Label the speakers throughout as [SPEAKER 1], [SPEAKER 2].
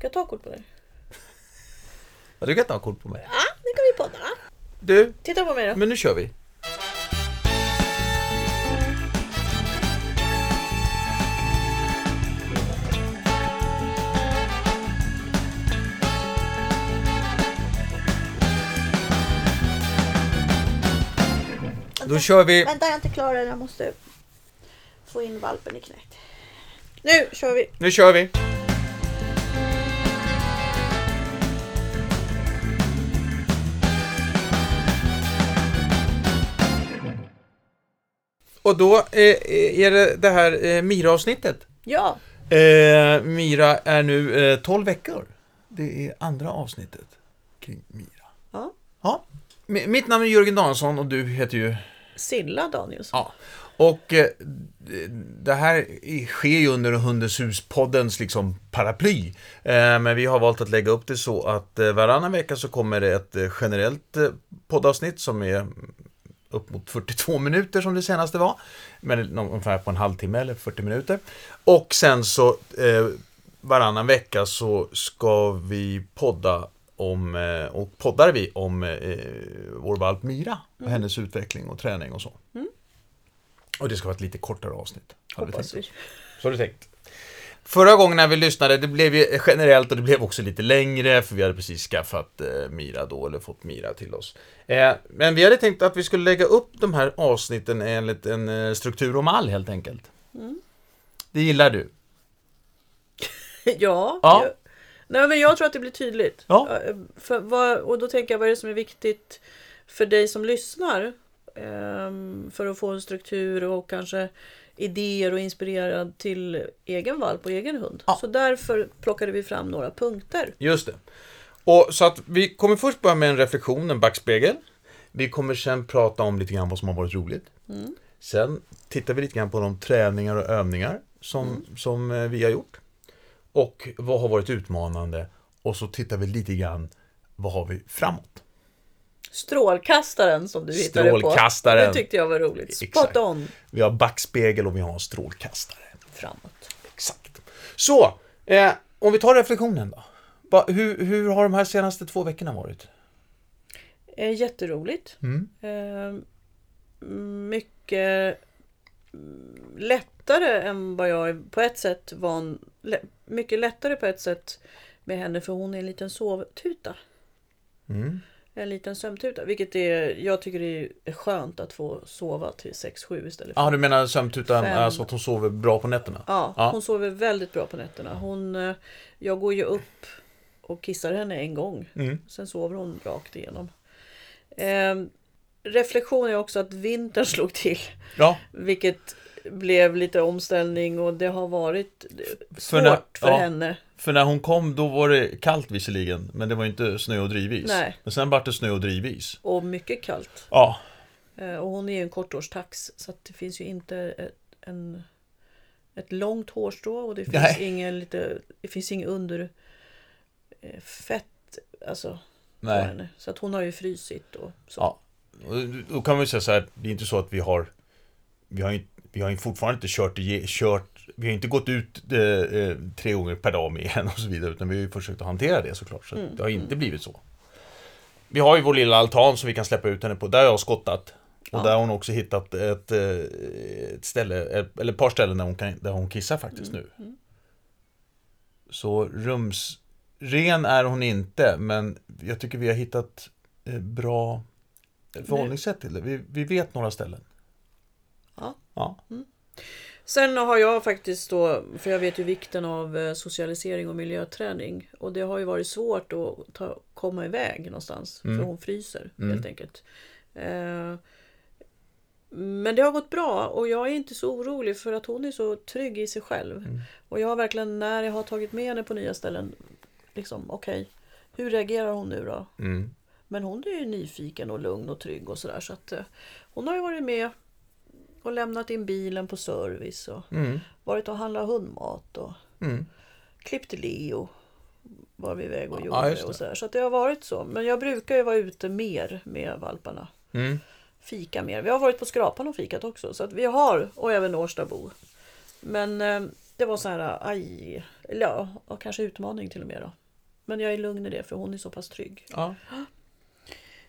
[SPEAKER 1] jag ta kort på det?
[SPEAKER 2] Ja, du kan ta kort på mig.
[SPEAKER 1] Ja, nu kan vi podda.
[SPEAKER 2] Du,
[SPEAKER 1] Titta på mig då.
[SPEAKER 2] men nu kör vi. Då kör vi.
[SPEAKER 1] Vänta, jag är inte klar än. Jag måste få in valpen i knät. Nu kör vi!
[SPEAKER 2] Nu kör vi. Och då eh, är det det här eh, Mira-avsnittet.
[SPEAKER 1] Ja,
[SPEAKER 2] Eh, Mira är nu eh, 12 veckor. Det är andra avsnittet kring Mira.
[SPEAKER 1] Ja.
[SPEAKER 2] ja. M- mitt namn är Jörgen Danielsson och du heter ju...
[SPEAKER 1] Silla Danielsson.
[SPEAKER 2] Ja. Och eh, det här sker ju under Hundens hus-poddens liksom paraply. Eh, Men vi har valt att lägga upp det så att eh, varannan vecka så kommer det ett eh, generellt eh, poddavsnitt som är upp mot 42 minuter som det senaste var. Men ungefär på en halvtimme eller 40 minuter. Och sen så eh, varannan vecka så ska vi podda om, eh, och poddar vi om eh, vår valp Mira och hennes utveckling och träning och så. Och det ska vara ett lite kortare avsnitt. hade vi tänkt
[SPEAKER 1] Hoppas
[SPEAKER 2] oss.
[SPEAKER 1] vi.
[SPEAKER 2] Så har du tänkt. Förra gången när vi lyssnade, det blev ju generellt och det blev också lite längre för vi hade precis skaffat eh, Mira då, eller fått Mira till oss. Eh, men vi hade tänkt att vi skulle lägga upp de här avsnitten enligt en eh, struktur och mall helt enkelt. Det gillar du?
[SPEAKER 1] Ja.
[SPEAKER 2] Ja.
[SPEAKER 1] Jag, nej, men jag tror att det blir tydligt.
[SPEAKER 2] Ja.
[SPEAKER 1] Eh, För, vad, och då tänker jag, vad är det som är viktigt för dig som lyssnar? Ehm, för att få en struktur och kanske idéer och inspirerad till egen valp och egen hund.
[SPEAKER 2] Ja.
[SPEAKER 1] Så därför plockade vi fram några punkter.
[SPEAKER 2] Just det. Och så att vi kommer först börja med en reflektion, en backspegel. Vi kommer sen prata om lite grann vad som har varit roligt. Sen tittar vi lite grann på de träningar och övningar som, som eh, vi har gjort. Och vad har varit utmanande. Och så tittar vi lite grann, vad har vi framåt?
[SPEAKER 1] Strålkastaren som du hittade på.
[SPEAKER 2] Strålkastaren.
[SPEAKER 1] Det tyckte jag var roligt. Spot
[SPEAKER 2] Exakt.
[SPEAKER 1] on
[SPEAKER 2] Vi har backspegel och vi har en strålkastare.
[SPEAKER 1] framåt.
[SPEAKER 2] Exakt. Så, eh, om vi tar reflektionen då. Va, hur, hur har de här senaste två veckorna varit?
[SPEAKER 1] Eh, Jätteroligt.
[SPEAKER 2] Mm.
[SPEAKER 1] Eh, mycket mm, lättare än vad jag är- på ett sätt var. En, lä- mycket lättare på ett sätt med henne för hon är en liten sovtuta.
[SPEAKER 2] Mm.
[SPEAKER 1] En liten sömntuta. Vilket är, jag tycker det är skönt att få sova till 6-7 istället för
[SPEAKER 2] Ja, du menar sömntutan,
[SPEAKER 1] Fem.
[SPEAKER 2] alltså att hon sover bra på nätterna?
[SPEAKER 1] Ja,
[SPEAKER 2] Ja.
[SPEAKER 1] hon sover väldigt bra på nätterna. Hon, eh, jag går ju upp och kissar henne en gång.
[SPEAKER 2] Mm.
[SPEAKER 1] Sen sover hon rakt igenom. Ehm, reflektion är också att vintern slog till.
[SPEAKER 2] Ja,
[SPEAKER 1] Vilket blev lite omställning och det har varit eh,
[SPEAKER 2] för
[SPEAKER 1] svårt
[SPEAKER 2] när-
[SPEAKER 1] för
[SPEAKER 2] ja.
[SPEAKER 1] henne.
[SPEAKER 2] för när hon kom då var det kallt visserligen, men det var inte snö och drivis.
[SPEAKER 1] Nej.
[SPEAKER 2] Men sen vart det snö och drivis.
[SPEAKER 1] Och mycket kallt.
[SPEAKER 2] Ja,
[SPEAKER 1] Eh, och hon är ju en kortårstax så att det finns ju inte ett, en, ett långt hårstrå och det finns,
[SPEAKER 2] Nej.
[SPEAKER 1] ingen, lite, det finns ingen under eh, fett. Alltså, på
[SPEAKER 2] nej.
[SPEAKER 1] henne. Så att hon har ju frysit och så.
[SPEAKER 2] Ja. Och Då kan man ju säga så här, det är inte så att vi har Vi har ju, vi har ju fortfarande inte kört, ige- kört Vi har inte gått ut eh, eh, tre gånger per dag med henne och så vidare, utan vi har ju försökt att hantera det såklart. Så det har inte blivit så. Vi har ju vår lilla altan som vi kan släppa ut henne på, där har jag skottat. Och
[SPEAKER 1] Ja.
[SPEAKER 2] där har hon också hittat ett, eh, ett ställe, ett- eller ett par ställen där hon, kan, där hon kissar faktiskt nu. Så rumsren är hon inte, men jag tycker vi har hittat eh, bra förhållningssätt till det. Vi, vi vet några ställen.
[SPEAKER 1] Ja.
[SPEAKER 2] Ja.
[SPEAKER 1] Sen har jag faktiskt då, för jag vet ju vikten av eh, socialisering och miljöträning. Och det har ju varit svårt att ta, komma iväg någonstans.
[SPEAKER 2] Mm.
[SPEAKER 1] För hon fryser helt enkelt. Eh, men det har gått bra och jag är inte så orolig för att hon är så trygg i sig själv.
[SPEAKER 2] Mm.
[SPEAKER 1] Och jag har verkligen, när jag har tagit med henne på nya ställen, liksom okej, hur reagerar hon nu då?
[SPEAKER 2] Mm.
[SPEAKER 1] Men hon är ju nyfiken och lugn och trygg och sådär. Så att eh, hon har ju varit med och lämnat in bilen på service och
[SPEAKER 2] Mm.
[SPEAKER 1] varit och handlat hundmat och
[SPEAKER 2] Mm.
[SPEAKER 1] klippt Leo. Var vi iväg och
[SPEAKER 2] Ja,
[SPEAKER 1] gjorde
[SPEAKER 2] just det.
[SPEAKER 1] och sådär. Så att det har varit så. Men jag brukar ju vara ute mer med valparna.
[SPEAKER 2] Mm.
[SPEAKER 1] Fika mer. Vi har varit på Skrapan och fikat också. Så att vi har, och även Årstabo. Men eh, Det var så här, aj, eller ja, och kanske utmaning till och med då. Men jag är lugn i det för hon är så pass trygg.
[SPEAKER 2] Ja.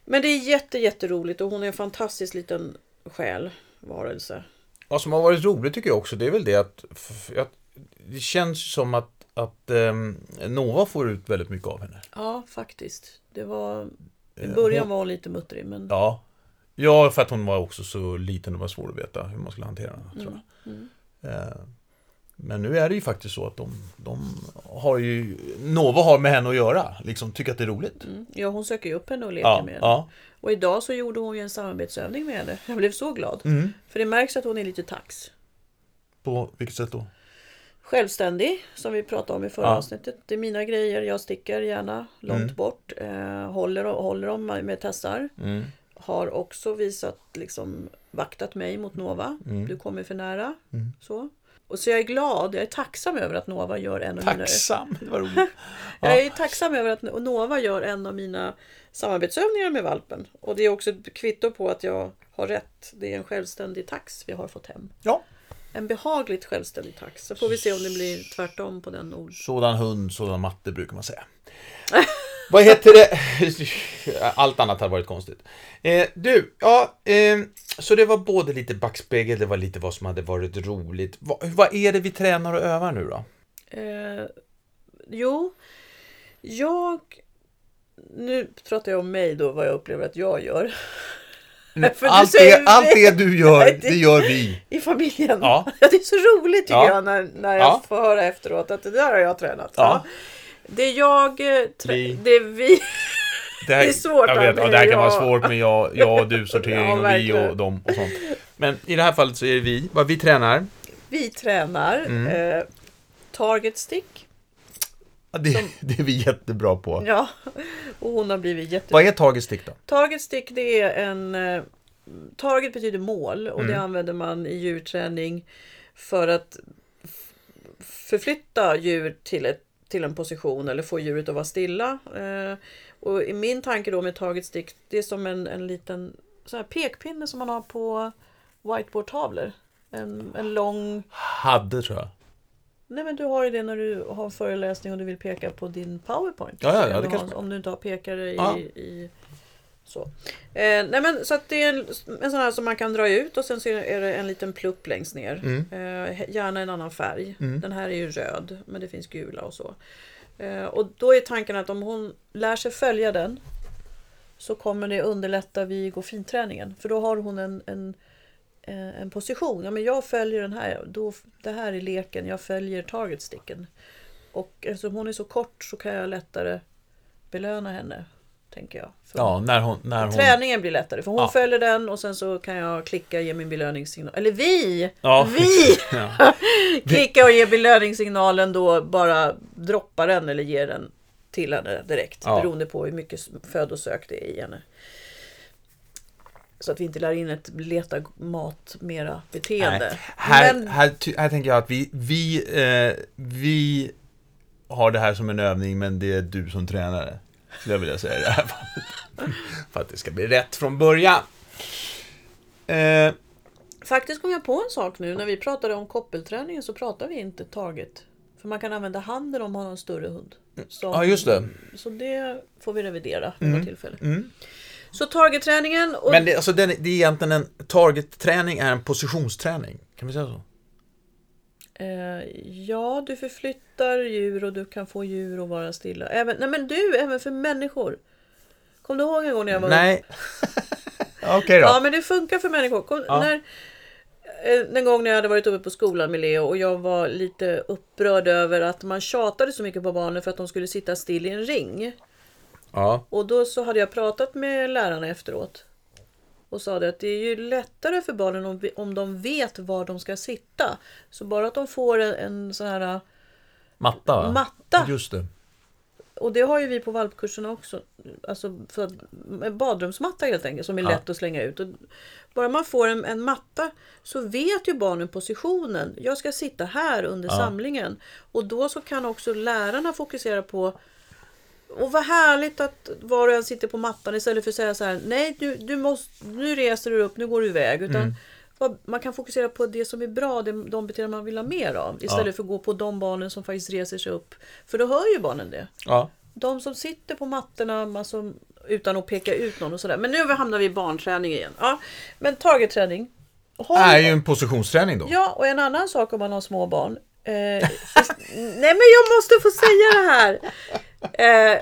[SPEAKER 1] Men det är jätte, jätteroligt och hon är en fantastisk liten själ, varelse.
[SPEAKER 2] Vad som har varit roligt tycker jag också, det är väl det att, f- att det känns som att, att ehm, Nova får ut väldigt mycket av henne.
[SPEAKER 1] Ja, faktiskt. Det var... I
[SPEAKER 2] Eh,
[SPEAKER 1] början
[SPEAKER 2] hon-
[SPEAKER 1] var hon lite muttrig, men...
[SPEAKER 2] Ja. ja, för att hon var också så liten och var svår att veta hur man skulle hantera henne. Tror jag.
[SPEAKER 1] Mm, mm.
[SPEAKER 2] Eh, Men nu är det ju faktiskt så att de, de har ju, Nova har med henne att göra, liksom tycker att det är roligt.
[SPEAKER 1] Mm. Ja, hon söker ju upp henne och leker
[SPEAKER 2] Ja,
[SPEAKER 1] med henne.
[SPEAKER 2] ja.
[SPEAKER 1] Och idag så gjorde hon ju en samarbetsövning med henne. Jag blev så glad.
[SPEAKER 2] Mm.
[SPEAKER 1] För det märks att hon är lite tax.
[SPEAKER 2] På vilket sätt då?
[SPEAKER 1] Självständig, som vi pratade om i förra
[SPEAKER 2] Ja.
[SPEAKER 1] avsnittet. Det är mina grejer, jag sticker gärna långt bort. Eh, håller, håller om med tassar.
[SPEAKER 2] Mm.
[SPEAKER 1] Har också visat, liksom vaktat mig mot Nova.
[SPEAKER 2] Mm.
[SPEAKER 1] Du kommer för nära.
[SPEAKER 2] Mm.
[SPEAKER 1] Så. Och så jag är glad, jag är tacksam över att Nova gör en av mina
[SPEAKER 2] Tacksam, det var roligt. Ja.
[SPEAKER 1] Jag är tacksam över att Nova gör en av mina samarbetsövningar med valpen. Och det är också ett kvitto på att jag har rätt. Det är en självständig tax vi har fått hem.
[SPEAKER 2] Ja.
[SPEAKER 1] En behagligt självständig tax. Så får vi se om det blir tvärtom på den ord.
[SPEAKER 2] Sådan hund, sådan matte brukar man säga. Vad heter det? Allt annat hade varit konstigt. Eh, du, ja, eh, så det var både lite backspegel, det var lite vad som hade varit roligt. Va, vad är det vi tränar och övar nu då?
[SPEAKER 1] Eh, jo, jag... Nu pratar jag om mig då, vad jag upplever att jag gör För du
[SPEAKER 2] Allt
[SPEAKER 1] säger
[SPEAKER 2] det,
[SPEAKER 1] vi.
[SPEAKER 2] allt det du gör,
[SPEAKER 1] Nej, det-
[SPEAKER 2] det gör vi.
[SPEAKER 1] i familjen.
[SPEAKER 2] Ja.
[SPEAKER 1] Det är så roligt tycker
[SPEAKER 2] Ja.
[SPEAKER 1] jag när, när jag
[SPEAKER 2] Ja.
[SPEAKER 1] får höra efteråt att det där har jag tränat.
[SPEAKER 2] Ja.
[SPEAKER 1] Det jag... eh, Trä-
[SPEAKER 2] Vi.
[SPEAKER 1] Det är vi.
[SPEAKER 2] Det, här,
[SPEAKER 1] Det är svårt,
[SPEAKER 2] Jag vet,
[SPEAKER 1] Annie,
[SPEAKER 2] ja, det här kan vara
[SPEAKER 1] jag-
[SPEAKER 2] svårt med jag, jag och du
[SPEAKER 1] Ja,
[SPEAKER 2] sortering och vi
[SPEAKER 1] verkligen.
[SPEAKER 2] och dem och sånt. Men i det här fallet så är det vi, vad vi tränar.
[SPEAKER 1] Vi tränar
[SPEAKER 2] Mm.
[SPEAKER 1] eh, target stick.
[SPEAKER 2] Ja, Det, det är vi jättebra på.
[SPEAKER 1] Ja. Och hon har blivit jätte...
[SPEAKER 2] Vad är taget stick då?
[SPEAKER 1] Target stick det är en... eh, Target betyder mål och det använder man i djurträning för att f- förflytta djur till, ett, till en position eller få djuret att vara stilla. Eh, och i min tanke då med target stick, det är som en, en liten sån här pekpinne som man har på whiteboardtavlor. En, en lång...
[SPEAKER 2] Hade tror jag.
[SPEAKER 1] Nej men du har ju det när du har en föreläsning och du vill peka på din powerpoint.
[SPEAKER 2] Ja, ja, ja,
[SPEAKER 1] Så kan
[SPEAKER 2] det
[SPEAKER 1] du
[SPEAKER 2] kanske
[SPEAKER 1] ha- Om du inte har pekare i...
[SPEAKER 2] Ja.
[SPEAKER 1] i så. Eh, nej men så att det är en, en sån här som man kan dra ut och sen så är det en liten plupp längst ner.
[SPEAKER 2] Mm.
[SPEAKER 1] Eh, gärna en annan färg. Den här är ju röd men det finns gula och så. Eh, och då är tanken att om hon lär sig följa den så kommer det underlätta vid gå finträningen. För då har hon en, en, eh, en position. Ja, men jag följer den här. Då, det här är leken. Jag följer targetsticken. Och eftersom hon är så kort så kan jag lättare belöna henne. Tänker jag. För
[SPEAKER 2] Ja, när hon... När hon...
[SPEAKER 1] Träningen blir lättare för hon
[SPEAKER 2] Ja.
[SPEAKER 1] följer den och sen så kan jag klicka och ge min belöningssignal. Eller vi!
[SPEAKER 2] Ja,
[SPEAKER 1] Vi!
[SPEAKER 2] Ja.
[SPEAKER 1] Klicka och ge belöningssignalen då bara droppa den eller ge den till henne direkt.
[SPEAKER 2] Ja.
[SPEAKER 1] Beroende på hur mycket födosök det är i henne. Så att vi inte lär in ett leta mat mera beteende.
[SPEAKER 2] Nej. Här,
[SPEAKER 1] Men
[SPEAKER 2] här, ty- här tänker jag att vi, vi, eh, vi har det här som en övning, men det är du som tränare. Skulle jag vilja säga i det här fallet. För att det ska bli rätt från början. Eh,
[SPEAKER 1] faktiskt kom jag på en sak nu. När vi pratade om koppelträningen så pratade vi inte target. För man kan använda handen om man har en större hund. Som
[SPEAKER 2] Mm. ja, just det.
[SPEAKER 1] Så det får vi revidera vid något tillfälle.
[SPEAKER 2] mm.
[SPEAKER 1] Så targetträningen och...
[SPEAKER 2] Men det, alltså, den, det är egentligen en target-träning är en positionsträning. Kan vi säga så?
[SPEAKER 1] Eh, ja, du förflyttar djur och du kan få djur att vara stilla. Även, nej men du, även för människor. Kom du ihåg en gång när jag var
[SPEAKER 2] Nej. Okej då.
[SPEAKER 1] Ja, men det funkar för människor. Kom,
[SPEAKER 2] Ja.
[SPEAKER 1] när, eh, den gång när jag hade varit uppe på skolan med Leo och jag var lite upprörd över att man tjatade så mycket på barnen för att de skulle sitta still i en ring.
[SPEAKER 2] Ja.
[SPEAKER 1] Och då så hade jag pratat med lärarna efteråt. Och sa det att det är ju lättare för barnen om, vi- om de vet var de ska sitta. Så bara att de får en, en sån här...
[SPEAKER 2] Matta, va?
[SPEAKER 1] Matta.
[SPEAKER 2] Just det.
[SPEAKER 1] Och det har ju vi på valpkurserna också. Alltså för att, en badrumsmatta helt enkelt som är
[SPEAKER 2] Ja.
[SPEAKER 1] lätt att slänga ut. Och bara man får en, en matta så vet ju barnen positionen. Jag ska sitta här under samlingen. Och då så kan också lärarna fokusera på och vad härligt att var och en sitter på mattan istället för att säga så här Nej, du, du måste, nu reser du upp, nu går du iväg. Utan vad- man kan fokusera på det som är bra, det, de beteenden man vill ha mer av. Istället för att gå på de barnen som faktiskt reser sig upp. För då hör ju barnen det.
[SPEAKER 2] Ja.
[SPEAKER 1] De som sitter på mattorna man som, utan att peka ut någon och sådär. Men nu hamnar vi i barnträning igen. Ja, men targetträning. Håll-
[SPEAKER 2] Är ju en positionsträning då.
[SPEAKER 1] Ja, och en annan sak om man har små barn. Eh, nej, men jag måste få säga det här. Eh,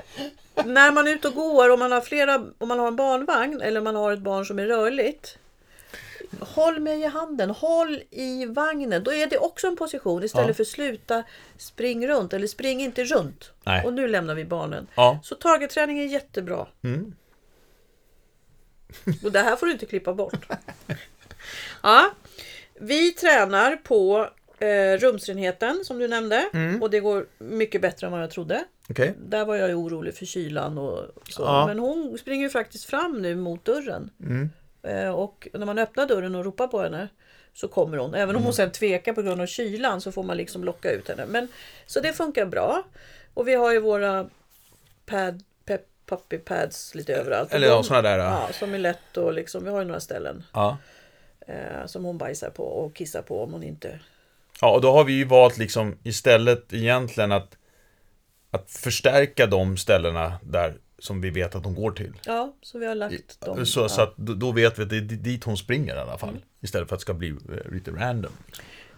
[SPEAKER 1] när man är ute och går, om man, har flera, om man har en barnvagn eller om man har ett barn som är rörligt. Håll mig i handen, håll i vagnen. Då är det också en position istället
[SPEAKER 2] Ja.
[SPEAKER 1] för sluta spring runt eller spring inte runt.
[SPEAKER 2] Nej.
[SPEAKER 1] Och nu lämnar vi barnen.
[SPEAKER 2] Ja.
[SPEAKER 1] Så targetträning är jättebra. Och det här får du inte klippa bort. Ja. Vi tränar på eh, rumsrenheten som du nämnde och det går mycket bättre än vad jag trodde.
[SPEAKER 2] Okej.
[SPEAKER 1] Där var jag ju orolig för kylan och så.
[SPEAKER 2] Ja. Mm.
[SPEAKER 1] Men hon springer ju faktiskt fram nu mot dörren. Eh, och när man öppnar dörren och ropar på henne så kommer hon. Även om
[SPEAKER 2] Mm.
[SPEAKER 1] hon sen tvekar på grund av kylan så får man liksom locka ut henne. Men, så det funkar bra. Och vi har ju våra pad, pep, puppy pads lite överallt.
[SPEAKER 2] Eller
[SPEAKER 1] Och
[SPEAKER 2] ja,
[SPEAKER 1] de-
[SPEAKER 2] sådana där. Ja.
[SPEAKER 1] Ja, som är lätt och liksom, vi har ju några ställen
[SPEAKER 2] Ja.
[SPEAKER 1] eh, som hon bajsar på och kissar på om hon inte...
[SPEAKER 2] ja, och då har vi ju valt liksom istället egentligen att, att förstärka de ställena där som vi vet att de går till.
[SPEAKER 1] Ja, så vi har lagt dem.
[SPEAKER 2] Så,
[SPEAKER 1] ja. Mm.
[SPEAKER 2] så att då- då vet vi att det är di- dit hon springer i alla fall. Istället för att det ska bli eh, lite random.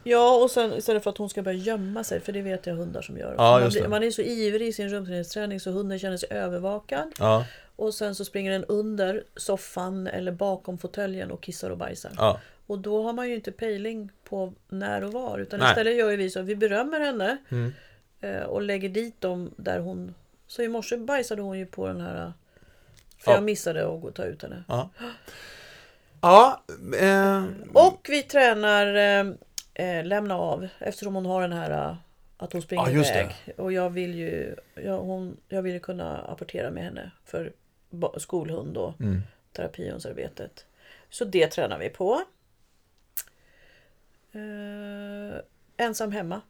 [SPEAKER 1] ja, och sen istället för att hon ska börja gömma sig, för det vet jag hundar som gör.
[SPEAKER 2] Ja,
[SPEAKER 1] man,
[SPEAKER 2] just det.
[SPEAKER 1] blir, man är så ivrig i sin rumsträning så hunden känner sig övervakad.
[SPEAKER 2] Ja,
[SPEAKER 1] Och sen så springer den under soffan eller bakom fåtöljen och kissar och bajsar.
[SPEAKER 2] ja,
[SPEAKER 1] Och då har man ju inte pejling på när och var. Utan
[SPEAKER 2] Nej. Mm.
[SPEAKER 1] istället gör ju vi så att vi berömmer henne eh, och lägger dit dem där hon... Så i morse bajsade hon ju på den här... För
[SPEAKER 2] Ja.
[SPEAKER 1] jag missade att gå och ta ut henne.
[SPEAKER 2] ja. Ja, eh,
[SPEAKER 1] Och vi tränar eh, eh, lämna av eftersom hon har den här eh, att hon springer
[SPEAKER 2] Ja, just det.
[SPEAKER 1] iväg. Och jag vill ju jag, hon, jag vill ju kunna apportera med henne för ba- skolhund och
[SPEAKER 2] Mm.
[SPEAKER 1] terapihundsarbetet. Så det tränar vi på. Eh, ensam hemma.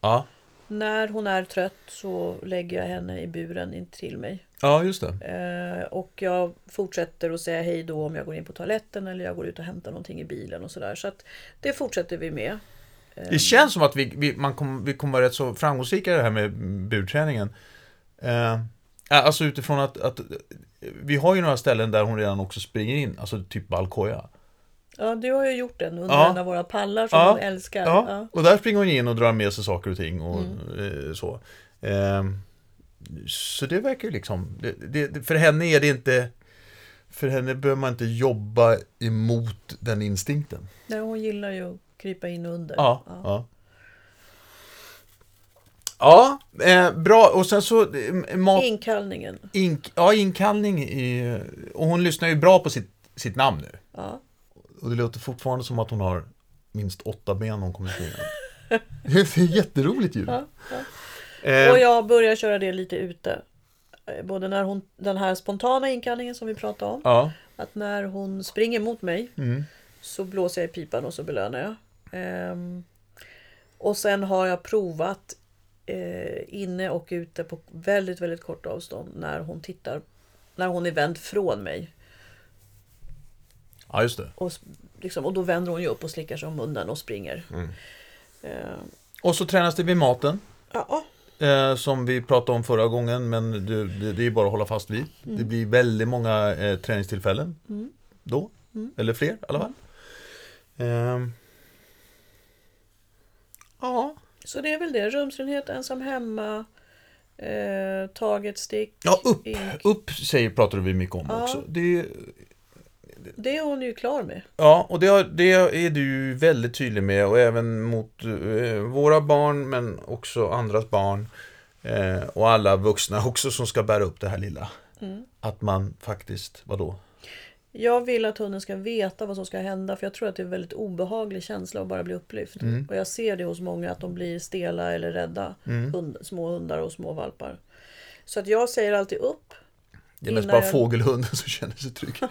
[SPEAKER 2] ja,
[SPEAKER 1] När hon är trött så lägger jag henne i buren in till mig.
[SPEAKER 2] ja, just det.
[SPEAKER 1] Eh, och jag fortsätter att säga hej då om jag går in på toaletten eller jag går ut och hämtar någonting i bilen och sådär. Så att det fortsätter vi med. Eh, Ehm.
[SPEAKER 2] Det känns som att vi, vi, man kom, vi kommer vara rätt så framgångsrika i det här med burträningen. Eh, alltså utifrån att, att vi har ju några ställen där hon redan också springer in, alltså typ balkoja.
[SPEAKER 1] Ja, du har ju gjort den under
[SPEAKER 2] Ja.
[SPEAKER 1] en av våra pallar som
[SPEAKER 2] Ja.
[SPEAKER 1] hon älskar.
[SPEAKER 2] Ja,
[SPEAKER 1] Ja.
[SPEAKER 2] och där springer hon in och drar med sig saker och ting och eh, så. Eh, så det verkar ju liksom, det, det- det, för henne är det inte, för henne behöver man inte jobba emot den instinkten.
[SPEAKER 1] Nej, hon gillar ju att krypa in under.
[SPEAKER 2] Ja,
[SPEAKER 1] Ja.
[SPEAKER 2] ja. Ja, eh, bra. Och sen så eh, mat,
[SPEAKER 1] Inkallningen.
[SPEAKER 2] ink, ja, inkallning i, och hon lyssnar ju bra på sitt, sitt namn nu.
[SPEAKER 1] Ja.
[SPEAKER 2] Och det låter fortfarande som att hon har minst åtta ben hon kommer springa. Det är ett jätteroligt ljud.
[SPEAKER 1] Ja, ja.
[SPEAKER 2] Eh,
[SPEAKER 1] Och jag börjar köra det lite ute. Eh, Både när hon, den här spontana inkallningen som vi pratade om.
[SPEAKER 2] ja,
[SPEAKER 1] Att när hon springer mot mig
[SPEAKER 2] Mm.
[SPEAKER 1] så blåser jag i pipan och så belönar jag. Ehm, och sen har jag provat eh, inne och ute på väldigt, väldigt kort avstånd när hon tittar, när hon är vänd från mig.
[SPEAKER 2] ja, just det.
[SPEAKER 1] Och, s- liksom, och då vänder hon ju upp och slickar sig om munnen och springer.
[SPEAKER 2] Mm.
[SPEAKER 1] Ehm,
[SPEAKER 2] Och så tränas det vid maten.
[SPEAKER 1] ja,
[SPEAKER 2] Eh, som vi pratade om förra gången, men du, det, det är bara att hålla fast vid. Det blir väldigt många eh, träningstillfällen då. Eller fler i alla fall. Ehm. Ja.
[SPEAKER 1] så det är väl det. Rumsrenhet, ensam hemma, eh, taget stick.
[SPEAKER 2] Ja, upp,
[SPEAKER 1] ink.
[SPEAKER 2] upp säger, pratar vi mycket om
[SPEAKER 1] Ja.
[SPEAKER 2] också. Det,
[SPEAKER 1] Det är hon ju klar med.
[SPEAKER 2] ja, och det, har- det är du väldigt tydlig med och även mot eh, våra barn men också andras barn. Eh, och alla vuxna också som ska bära upp det här lilla. Att man faktiskt, vadå?
[SPEAKER 1] Jag vill att hunden ska veta vad som ska hända för jag tror att det är en väldigt obehaglig känsla att bara bli upplyft. Och jag ser det hos många att de blir stela eller rädda. Hund, små hundar och små valpar. Så att jag säger alltid upp.
[SPEAKER 2] Det är mest
[SPEAKER 1] Innan
[SPEAKER 2] bara
[SPEAKER 1] jag-
[SPEAKER 2] fågelhunden som känner sig trygg.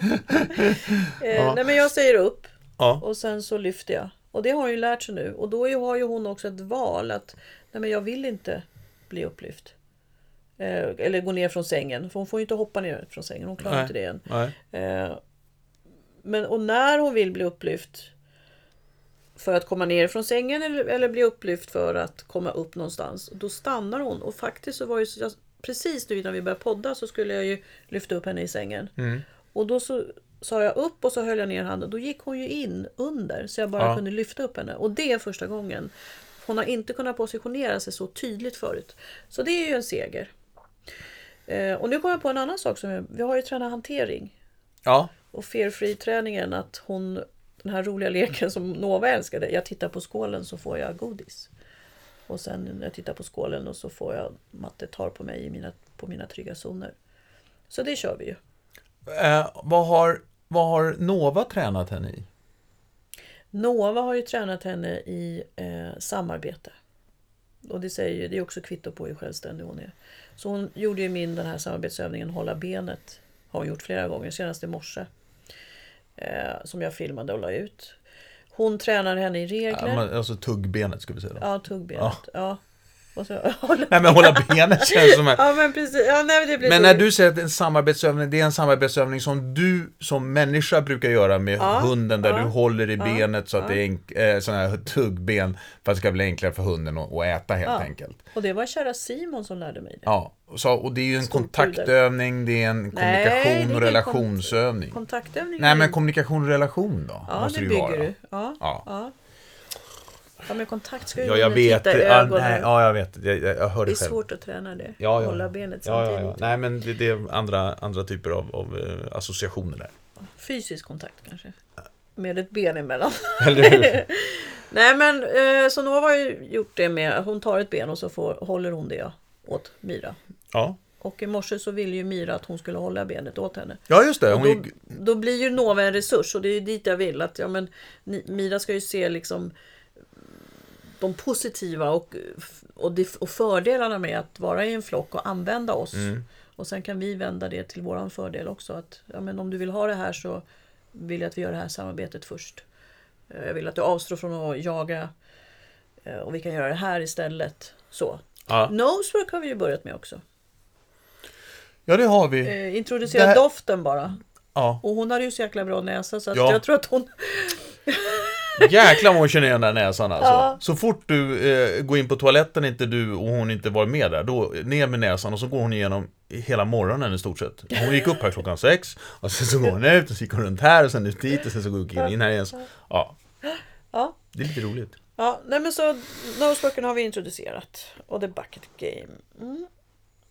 [SPEAKER 1] Eh, Nej men jag säger upp
[SPEAKER 2] Ja,
[SPEAKER 1] och sen så lyfter jag. Och det har hon ju lärt sig nu. Och då är- har ju hon också ett val att nej men jag vill inte bli upplyft. Eh, eller gå ner från sängen. För hon får ju inte hoppa ner från sängen. Hon klarar
[SPEAKER 2] Nej.
[SPEAKER 1] inte det än.
[SPEAKER 2] nej.
[SPEAKER 1] Eh, Men, och när hon vill bli upplyft för att komma ner från sängen eller, eller bli upplyft för att komma upp någonstans. Då stannar hon och faktiskt så var ju så- jag, precis nu innan vi började podda så skulle jag ju lyfta upp henne i sängen. Och då så sa jag upp och så höll jag ner handen. Då gick hon ju in under så jag bara
[SPEAKER 2] Ja.
[SPEAKER 1] kunde lyfta upp henne. Och det är första gången. Hon har inte kunnat positionera sig så tydligt förut. Så det är ju en seger. Eh, och nu kommer jag på en annan sak. som jag, Vi har ju tränat hantering
[SPEAKER 2] Ja,
[SPEAKER 1] och fear-free-träningen att hon, den här roliga leken som Nova älskade, jag tittar på skålen så får jag godis. Och sen när jag tittar på skålen och så får jag matte tar på mig i mina, på mina trygga zoner. Så det kör vi ju.
[SPEAKER 2] eh, vad, har, vad har Nova tränat henne i?
[SPEAKER 1] Nova har ju tränat henne i eh, samarbete. Och det, säger ju, det är också kvitto på hur självständig hon är. Så hon gjorde ju min den här samarbetsövningen Hålla benet. Har hon gjort flera gånger, senast i morse. Eh, som jag filmade och la ut. Hon tränar henne i regler.
[SPEAKER 2] Ja, men, alltså tuggbenet skulle vi säga då.
[SPEAKER 1] Ja, tuggbenet. Ja. Och så, ja,
[SPEAKER 2] Nej men hålla benet känns som här.
[SPEAKER 1] men precis. Ja, nej, men det blir
[SPEAKER 2] Men
[SPEAKER 1] så-
[SPEAKER 2] när du säger att en samarbetsövning, det är en samarbetsövning som du som människa brukar göra med
[SPEAKER 1] Ja,
[SPEAKER 2] hunden där
[SPEAKER 1] ja,
[SPEAKER 2] du håller i benet så att det är enk- eh, sån här tuggben för att det ska bli enklare för hunden att, att äta helt enkelt.
[SPEAKER 1] Och det var kära Simon som lärde mig det.
[SPEAKER 2] Ja, och så, och det är ju en
[SPEAKER 1] Skolpuder.
[SPEAKER 2] kontaktövning, det är en kommunikation
[SPEAKER 1] det är ingen
[SPEAKER 2] och
[SPEAKER 1] kon-
[SPEAKER 2] relationsövning.
[SPEAKER 1] Kontaktövning.
[SPEAKER 2] Nej,
[SPEAKER 1] är-
[SPEAKER 2] men kommunikation och relation då?
[SPEAKER 1] ja,
[SPEAKER 2] måste
[SPEAKER 1] det
[SPEAKER 2] det ju
[SPEAKER 1] bygger
[SPEAKER 2] vara.
[SPEAKER 1] du. Ja,
[SPEAKER 2] Ja.
[SPEAKER 1] ja. ja. men kontakt ska ju
[SPEAKER 2] Ja, jag
[SPEAKER 1] hunden
[SPEAKER 2] vet.
[SPEAKER 1] titta i
[SPEAKER 2] Ja,
[SPEAKER 1] ögonen.
[SPEAKER 2] nej, ja, jag vet. Jag, jag, jag hör
[SPEAKER 1] Det
[SPEAKER 2] det
[SPEAKER 1] är
[SPEAKER 2] själv.
[SPEAKER 1] svårt att träna det.
[SPEAKER 2] Ja, ja.
[SPEAKER 1] Hålla benet
[SPEAKER 2] Ja,
[SPEAKER 1] samtidigt.
[SPEAKER 2] ja, ja. Nej, men det, det är andra, andra typer av, av eh, associationer där.
[SPEAKER 1] Fysisk kontakt kanske. Med ett ben emellan.
[SPEAKER 2] Eller hur?
[SPEAKER 1] Nej men eh, så Nova har ju gjort det med, hon tar ett ben och så får, håller hon det åt Mira.
[SPEAKER 2] Ja.
[SPEAKER 1] Och i morse så ville ju Mira att hon skulle hålla benet åt henne.
[SPEAKER 2] ja, just det. Hon
[SPEAKER 1] då,
[SPEAKER 2] gick...
[SPEAKER 1] då blir ju Nova en resurs och det är ju dit jag vill. Att, ja, men, ni- Mira ska ju se liksom de positiva och, och, de, och fördelarna med att vara i en flock och använda oss.
[SPEAKER 2] Mm.
[SPEAKER 1] Och sen kan vi vända det till våran fördel också. Att, ja, men om du vill ha det här så vill jag att vi gör det här samarbetet först. Eh, Jag vill att du avstår från att jaga eh, och vi kan göra det här istället. Så.
[SPEAKER 2] Ja.
[SPEAKER 1] Nosework har vi ju börjat med också.
[SPEAKER 2] ja, det har vi.
[SPEAKER 1] Eh, Introducera
[SPEAKER 2] Det här-
[SPEAKER 1] doften bara.
[SPEAKER 2] Ja.
[SPEAKER 1] Och hon hade ju så jäkla bra näsa så att
[SPEAKER 2] Ja.
[SPEAKER 1] jag tror att hon...
[SPEAKER 2] Jäklar vad hon känner igen den där näsan alltså.
[SPEAKER 1] Ja.
[SPEAKER 2] Så fort du eh, går in på toaletten inte du och hon inte var med där, då ner med näsan och så går hon igenom hela morgonen i stort sett. Hon gick upp här klockan sex och sen så går hon ut och så gick hon runt här och sen ut dit och sen så gick hon in här igen. Så, ja,
[SPEAKER 1] Ja.
[SPEAKER 2] det är lite roligt.
[SPEAKER 1] ja, nej men så Nosebroken har vi introducerat. Och The Bucket Game. Mm.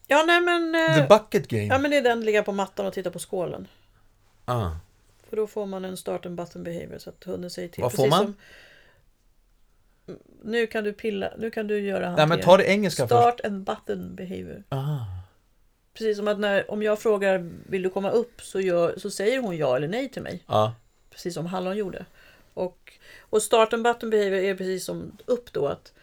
[SPEAKER 1] Ja, nej men... eh,
[SPEAKER 2] The bucket
[SPEAKER 1] Ja,
[SPEAKER 2] game.
[SPEAKER 1] men det är den ligga på mattan och titta på skålen.
[SPEAKER 2] Ah.
[SPEAKER 1] För då får man en start and button behavior så att hunden säger till.
[SPEAKER 2] Vad får man?
[SPEAKER 1] Mm, nu kan du pilla, nu kan du göra
[SPEAKER 2] Nej
[SPEAKER 1] hantering.
[SPEAKER 2] men ta det engelska först.
[SPEAKER 1] Start and button behavior.
[SPEAKER 2] Ah.
[SPEAKER 1] Precis som att när, om jag frågar vill du komma upp så, gör, så säger hon ja eller nej till mig.
[SPEAKER 2] Ja.
[SPEAKER 1] precis som Hallon gjorde. Och, och start and button behavior är precis som upp då att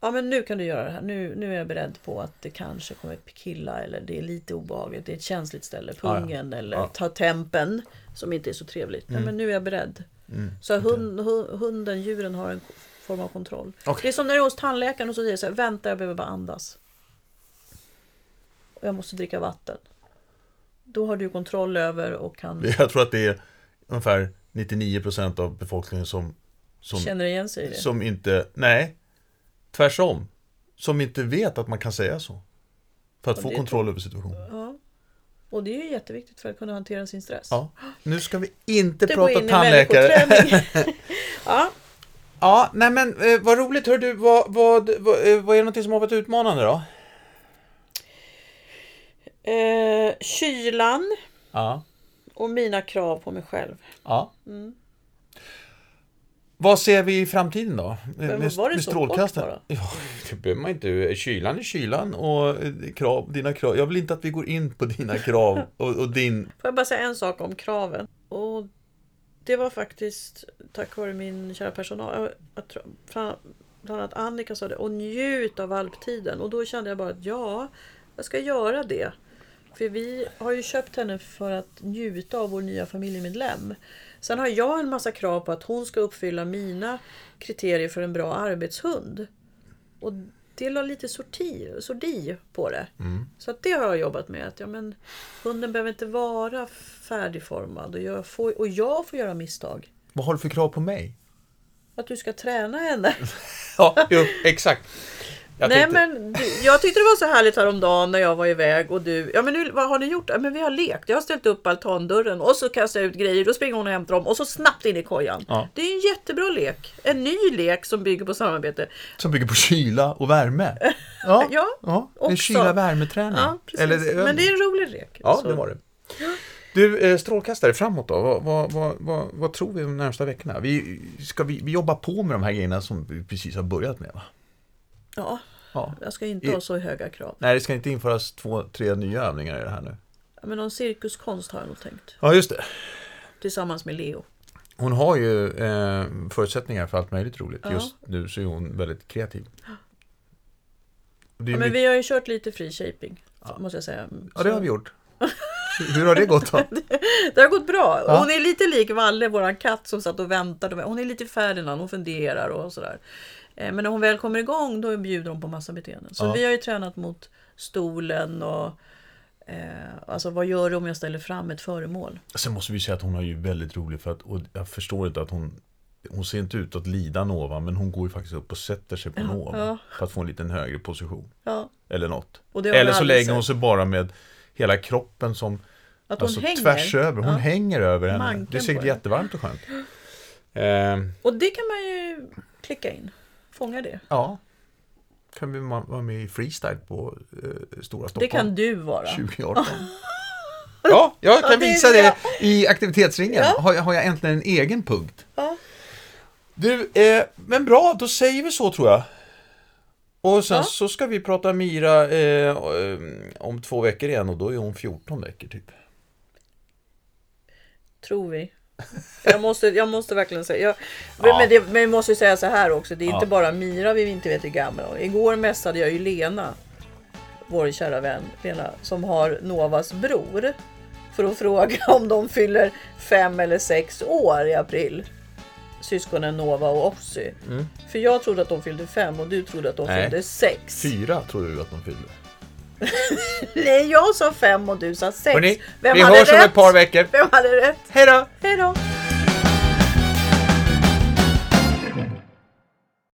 [SPEAKER 1] ja men nu kan du göra det här, nu, nu är jag beredd på att det kanske kommer killa eller det är lite obehagligt, det är ett känsligt ställe,
[SPEAKER 2] ja.
[SPEAKER 1] pungen eller
[SPEAKER 2] Ja. Mm.
[SPEAKER 1] ta tempen som inte är så trevligt. Nej men nu är jag beredd. Så hund, hu- hunden, djuren har en k- form av kontroll.
[SPEAKER 2] Okej.
[SPEAKER 1] Det är som när du är hos tandläkaren och så säger jag så här, vänta jag behöver bara andas. Och jag måste dricka vatten. Då har du kontroll över och kan
[SPEAKER 2] Jag tror att det är ungefär 99% av befolkningen som, som,
[SPEAKER 1] känna igen sig i det.
[SPEAKER 2] som inte, nej, tvärsom, som inte vet att man kan säga så. För att
[SPEAKER 1] Ja,
[SPEAKER 2] få
[SPEAKER 1] det
[SPEAKER 2] kontroll över situationen.
[SPEAKER 1] Ja. Och det är ju jätteviktigt för att kunna hantera sin stress.
[SPEAKER 2] Ja. Nu ska vi inte
[SPEAKER 1] Inte gå
[SPEAKER 2] prata
[SPEAKER 1] in i
[SPEAKER 2] tandläkare.
[SPEAKER 1] människoträning. ja,
[SPEAKER 2] Ja, nej men eh, vad roligt, hör du, vad, vad, vad, eh, vad är någonting som har varit utmanande då?
[SPEAKER 1] eh, kylan
[SPEAKER 2] Ja.
[SPEAKER 1] och mina krav på mig själv.
[SPEAKER 2] ja.
[SPEAKER 1] Mm.
[SPEAKER 2] Vad ser vi i framtiden då?
[SPEAKER 1] Men
[SPEAKER 2] med,
[SPEAKER 1] var det
[SPEAKER 2] med
[SPEAKER 1] så
[SPEAKER 2] strålkastaren?
[SPEAKER 1] kort
[SPEAKER 2] Ja, det behöver man inte. Kylan är kylan och eh, krav, dina krav. Jag vill inte att vi går in på dina krav och, och din...
[SPEAKER 1] Får jag bara säga en sak om kraven? Och det var faktiskt tack vare min kära personal. Jag tror, fra- bland annat Annika sa det. Och njut av valptiden. Och då kände jag bara att ja, jag ska göra det. För vi har ju köpt henne för att njuta av vår nya familjemedlem. Sen har jag en massa krav på att hon ska uppfylla mina kriterier för en bra arbetshund. Och till och lite sorti, sordi på det.
[SPEAKER 2] Mm.
[SPEAKER 1] Så att det har jag jobbat med. Att, ja, men, hunden behöver inte vara färdigformad och jag, får, och jag får göra misstag.
[SPEAKER 2] Vad har du för krav på mig?
[SPEAKER 1] Att du ska träna henne.
[SPEAKER 2] Ja, jo, exakt. Jag
[SPEAKER 1] Nej,
[SPEAKER 2] tänkte-
[SPEAKER 1] men, du- jag tyckte det var så härligt häromdagen när jag var iväg och du, ja men nu, vad har ni gjort? Ja, men vi har lekt. Jag har ställt upp altandörren och så kastar jag ut grejer. Då springer hon och hämtar dem och så snabbt in i kojan.
[SPEAKER 2] Ja.
[SPEAKER 1] Det är en jättebra lek. En ny lek som bygger på samarbete.
[SPEAKER 2] Som bygger på kyla och värme. Ja,
[SPEAKER 1] Ja,
[SPEAKER 2] en
[SPEAKER 1] också.
[SPEAKER 2] kyla-värmeträning.
[SPEAKER 1] Ja, precis.
[SPEAKER 2] Eller-
[SPEAKER 1] men det är en rolig lek.
[SPEAKER 2] Ja,
[SPEAKER 1] Så-
[SPEAKER 2] det var det. Du, eh, strålkastare framåt då. Vad, vad, vad, vad, vad tror vi de närmsta veckorna? Vi, ska vi, vi jobbar på med de här grejerna som vi precis har börjat med va?
[SPEAKER 1] Ja,
[SPEAKER 2] Ja.
[SPEAKER 1] jag ska inte
[SPEAKER 2] I-
[SPEAKER 1] ha så höga krav.
[SPEAKER 2] Nej, det ska inte införas två, tre nya övningar i det här nu.
[SPEAKER 1] Ja, Men någon cirkuskonst har jag nog tänkt.
[SPEAKER 2] Ja, just det.
[SPEAKER 1] Tillsammans med Leo.
[SPEAKER 2] Hon har ju eh, förutsättningar för allt möjligt roligt.
[SPEAKER 1] Ja.
[SPEAKER 2] Just nu så är hon väldigt kreativ.
[SPEAKER 1] Ja,
[SPEAKER 2] Det är ju
[SPEAKER 1] men
[SPEAKER 2] mycket,
[SPEAKER 1] vi har ju kört lite free shaping. Måste jag säga.
[SPEAKER 2] ja, det har vi gjort. Hur- Hur har det gått då?
[SPEAKER 1] Det har gått bra.
[SPEAKER 2] Ja.
[SPEAKER 1] Hon är lite lik Valle, våran katt som satt och väntade. Hon är lite Ferdinand, hon funderar och sådär. Eh, Men när hon väl kommer igång då bjuder hon på massa beteenden. Så
[SPEAKER 2] Ja.
[SPEAKER 1] vi har ju tränat mot stolen och eh, alltså vad gör du om jag ställer fram ett föremål?
[SPEAKER 2] Sen måste vi säga att hon har ju väldigt roligt för att, och jag förstår inte att hon Hon ser inte ut att lida Nova men hon går ju faktiskt upp och sätter sig på Nova
[SPEAKER 1] ja.
[SPEAKER 2] För att få en liten högre position
[SPEAKER 1] Ja,
[SPEAKER 2] Eller något
[SPEAKER 1] och det har
[SPEAKER 2] Eller
[SPEAKER 1] jag
[SPEAKER 2] så
[SPEAKER 1] aldrig
[SPEAKER 2] lägger hon
[SPEAKER 1] sett.
[SPEAKER 2] sig bara med Hela kroppen som
[SPEAKER 1] Att hon
[SPEAKER 2] alltså,
[SPEAKER 1] hänger.
[SPEAKER 2] tvärs över, hon
[SPEAKER 1] Ja.
[SPEAKER 2] hänger över henne
[SPEAKER 1] Manken
[SPEAKER 2] Det är
[SPEAKER 1] på
[SPEAKER 2] säkert
[SPEAKER 1] henne.
[SPEAKER 2] jättevarmt och skönt Ehm,
[SPEAKER 1] Och det kan man ju klicka in. Fånga det.
[SPEAKER 2] Ja Kan vi ma- vara med i freestyle på eh, Stora
[SPEAKER 1] Det
[SPEAKER 2] Stockholm
[SPEAKER 1] kan du vara.
[SPEAKER 2] 2018 Ja, jag kan
[SPEAKER 1] Ja, det är
[SPEAKER 2] visa det
[SPEAKER 1] bra.
[SPEAKER 2] i aktivitetsringen.
[SPEAKER 1] Ja.
[SPEAKER 2] Har, jag, har jag äntligen en egen punkt?
[SPEAKER 1] Ja.
[SPEAKER 2] Du, eh, men bra, då säger vi så tror jag. Och sen
[SPEAKER 1] Ja.
[SPEAKER 2] så ska vi prata Mira eh, eh, om två veckor igen och då är hon 14 veckor typ.
[SPEAKER 1] Tror vi. Jag måste, jag måste verkligen säga. Jag, men, det, men jag måste ju säga så här också. Det är inte bara Mira vi inte vet hur gammal hon är. Igår mässade jag ju Lena. Vår kära vän Lena. Som har Novas bror. För att fråga om de fyller fem eller sex år i april. Syskonen Nova och Ossi. För jag trodde att de fyllde fem och du trodde att de
[SPEAKER 2] Mm. Nej.
[SPEAKER 1] fyllde sex.
[SPEAKER 2] Fyra tror du att de fyller.
[SPEAKER 1] Nej, jag sa fem och du sa sex.
[SPEAKER 2] Hörrni,
[SPEAKER 1] Vem
[SPEAKER 2] vi
[SPEAKER 1] hade
[SPEAKER 2] hörs om
[SPEAKER 1] rätt?
[SPEAKER 2] ett par veckor.
[SPEAKER 1] Vem hade rätt?
[SPEAKER 2] Hej då!
[SPEAKER 1] Hej då!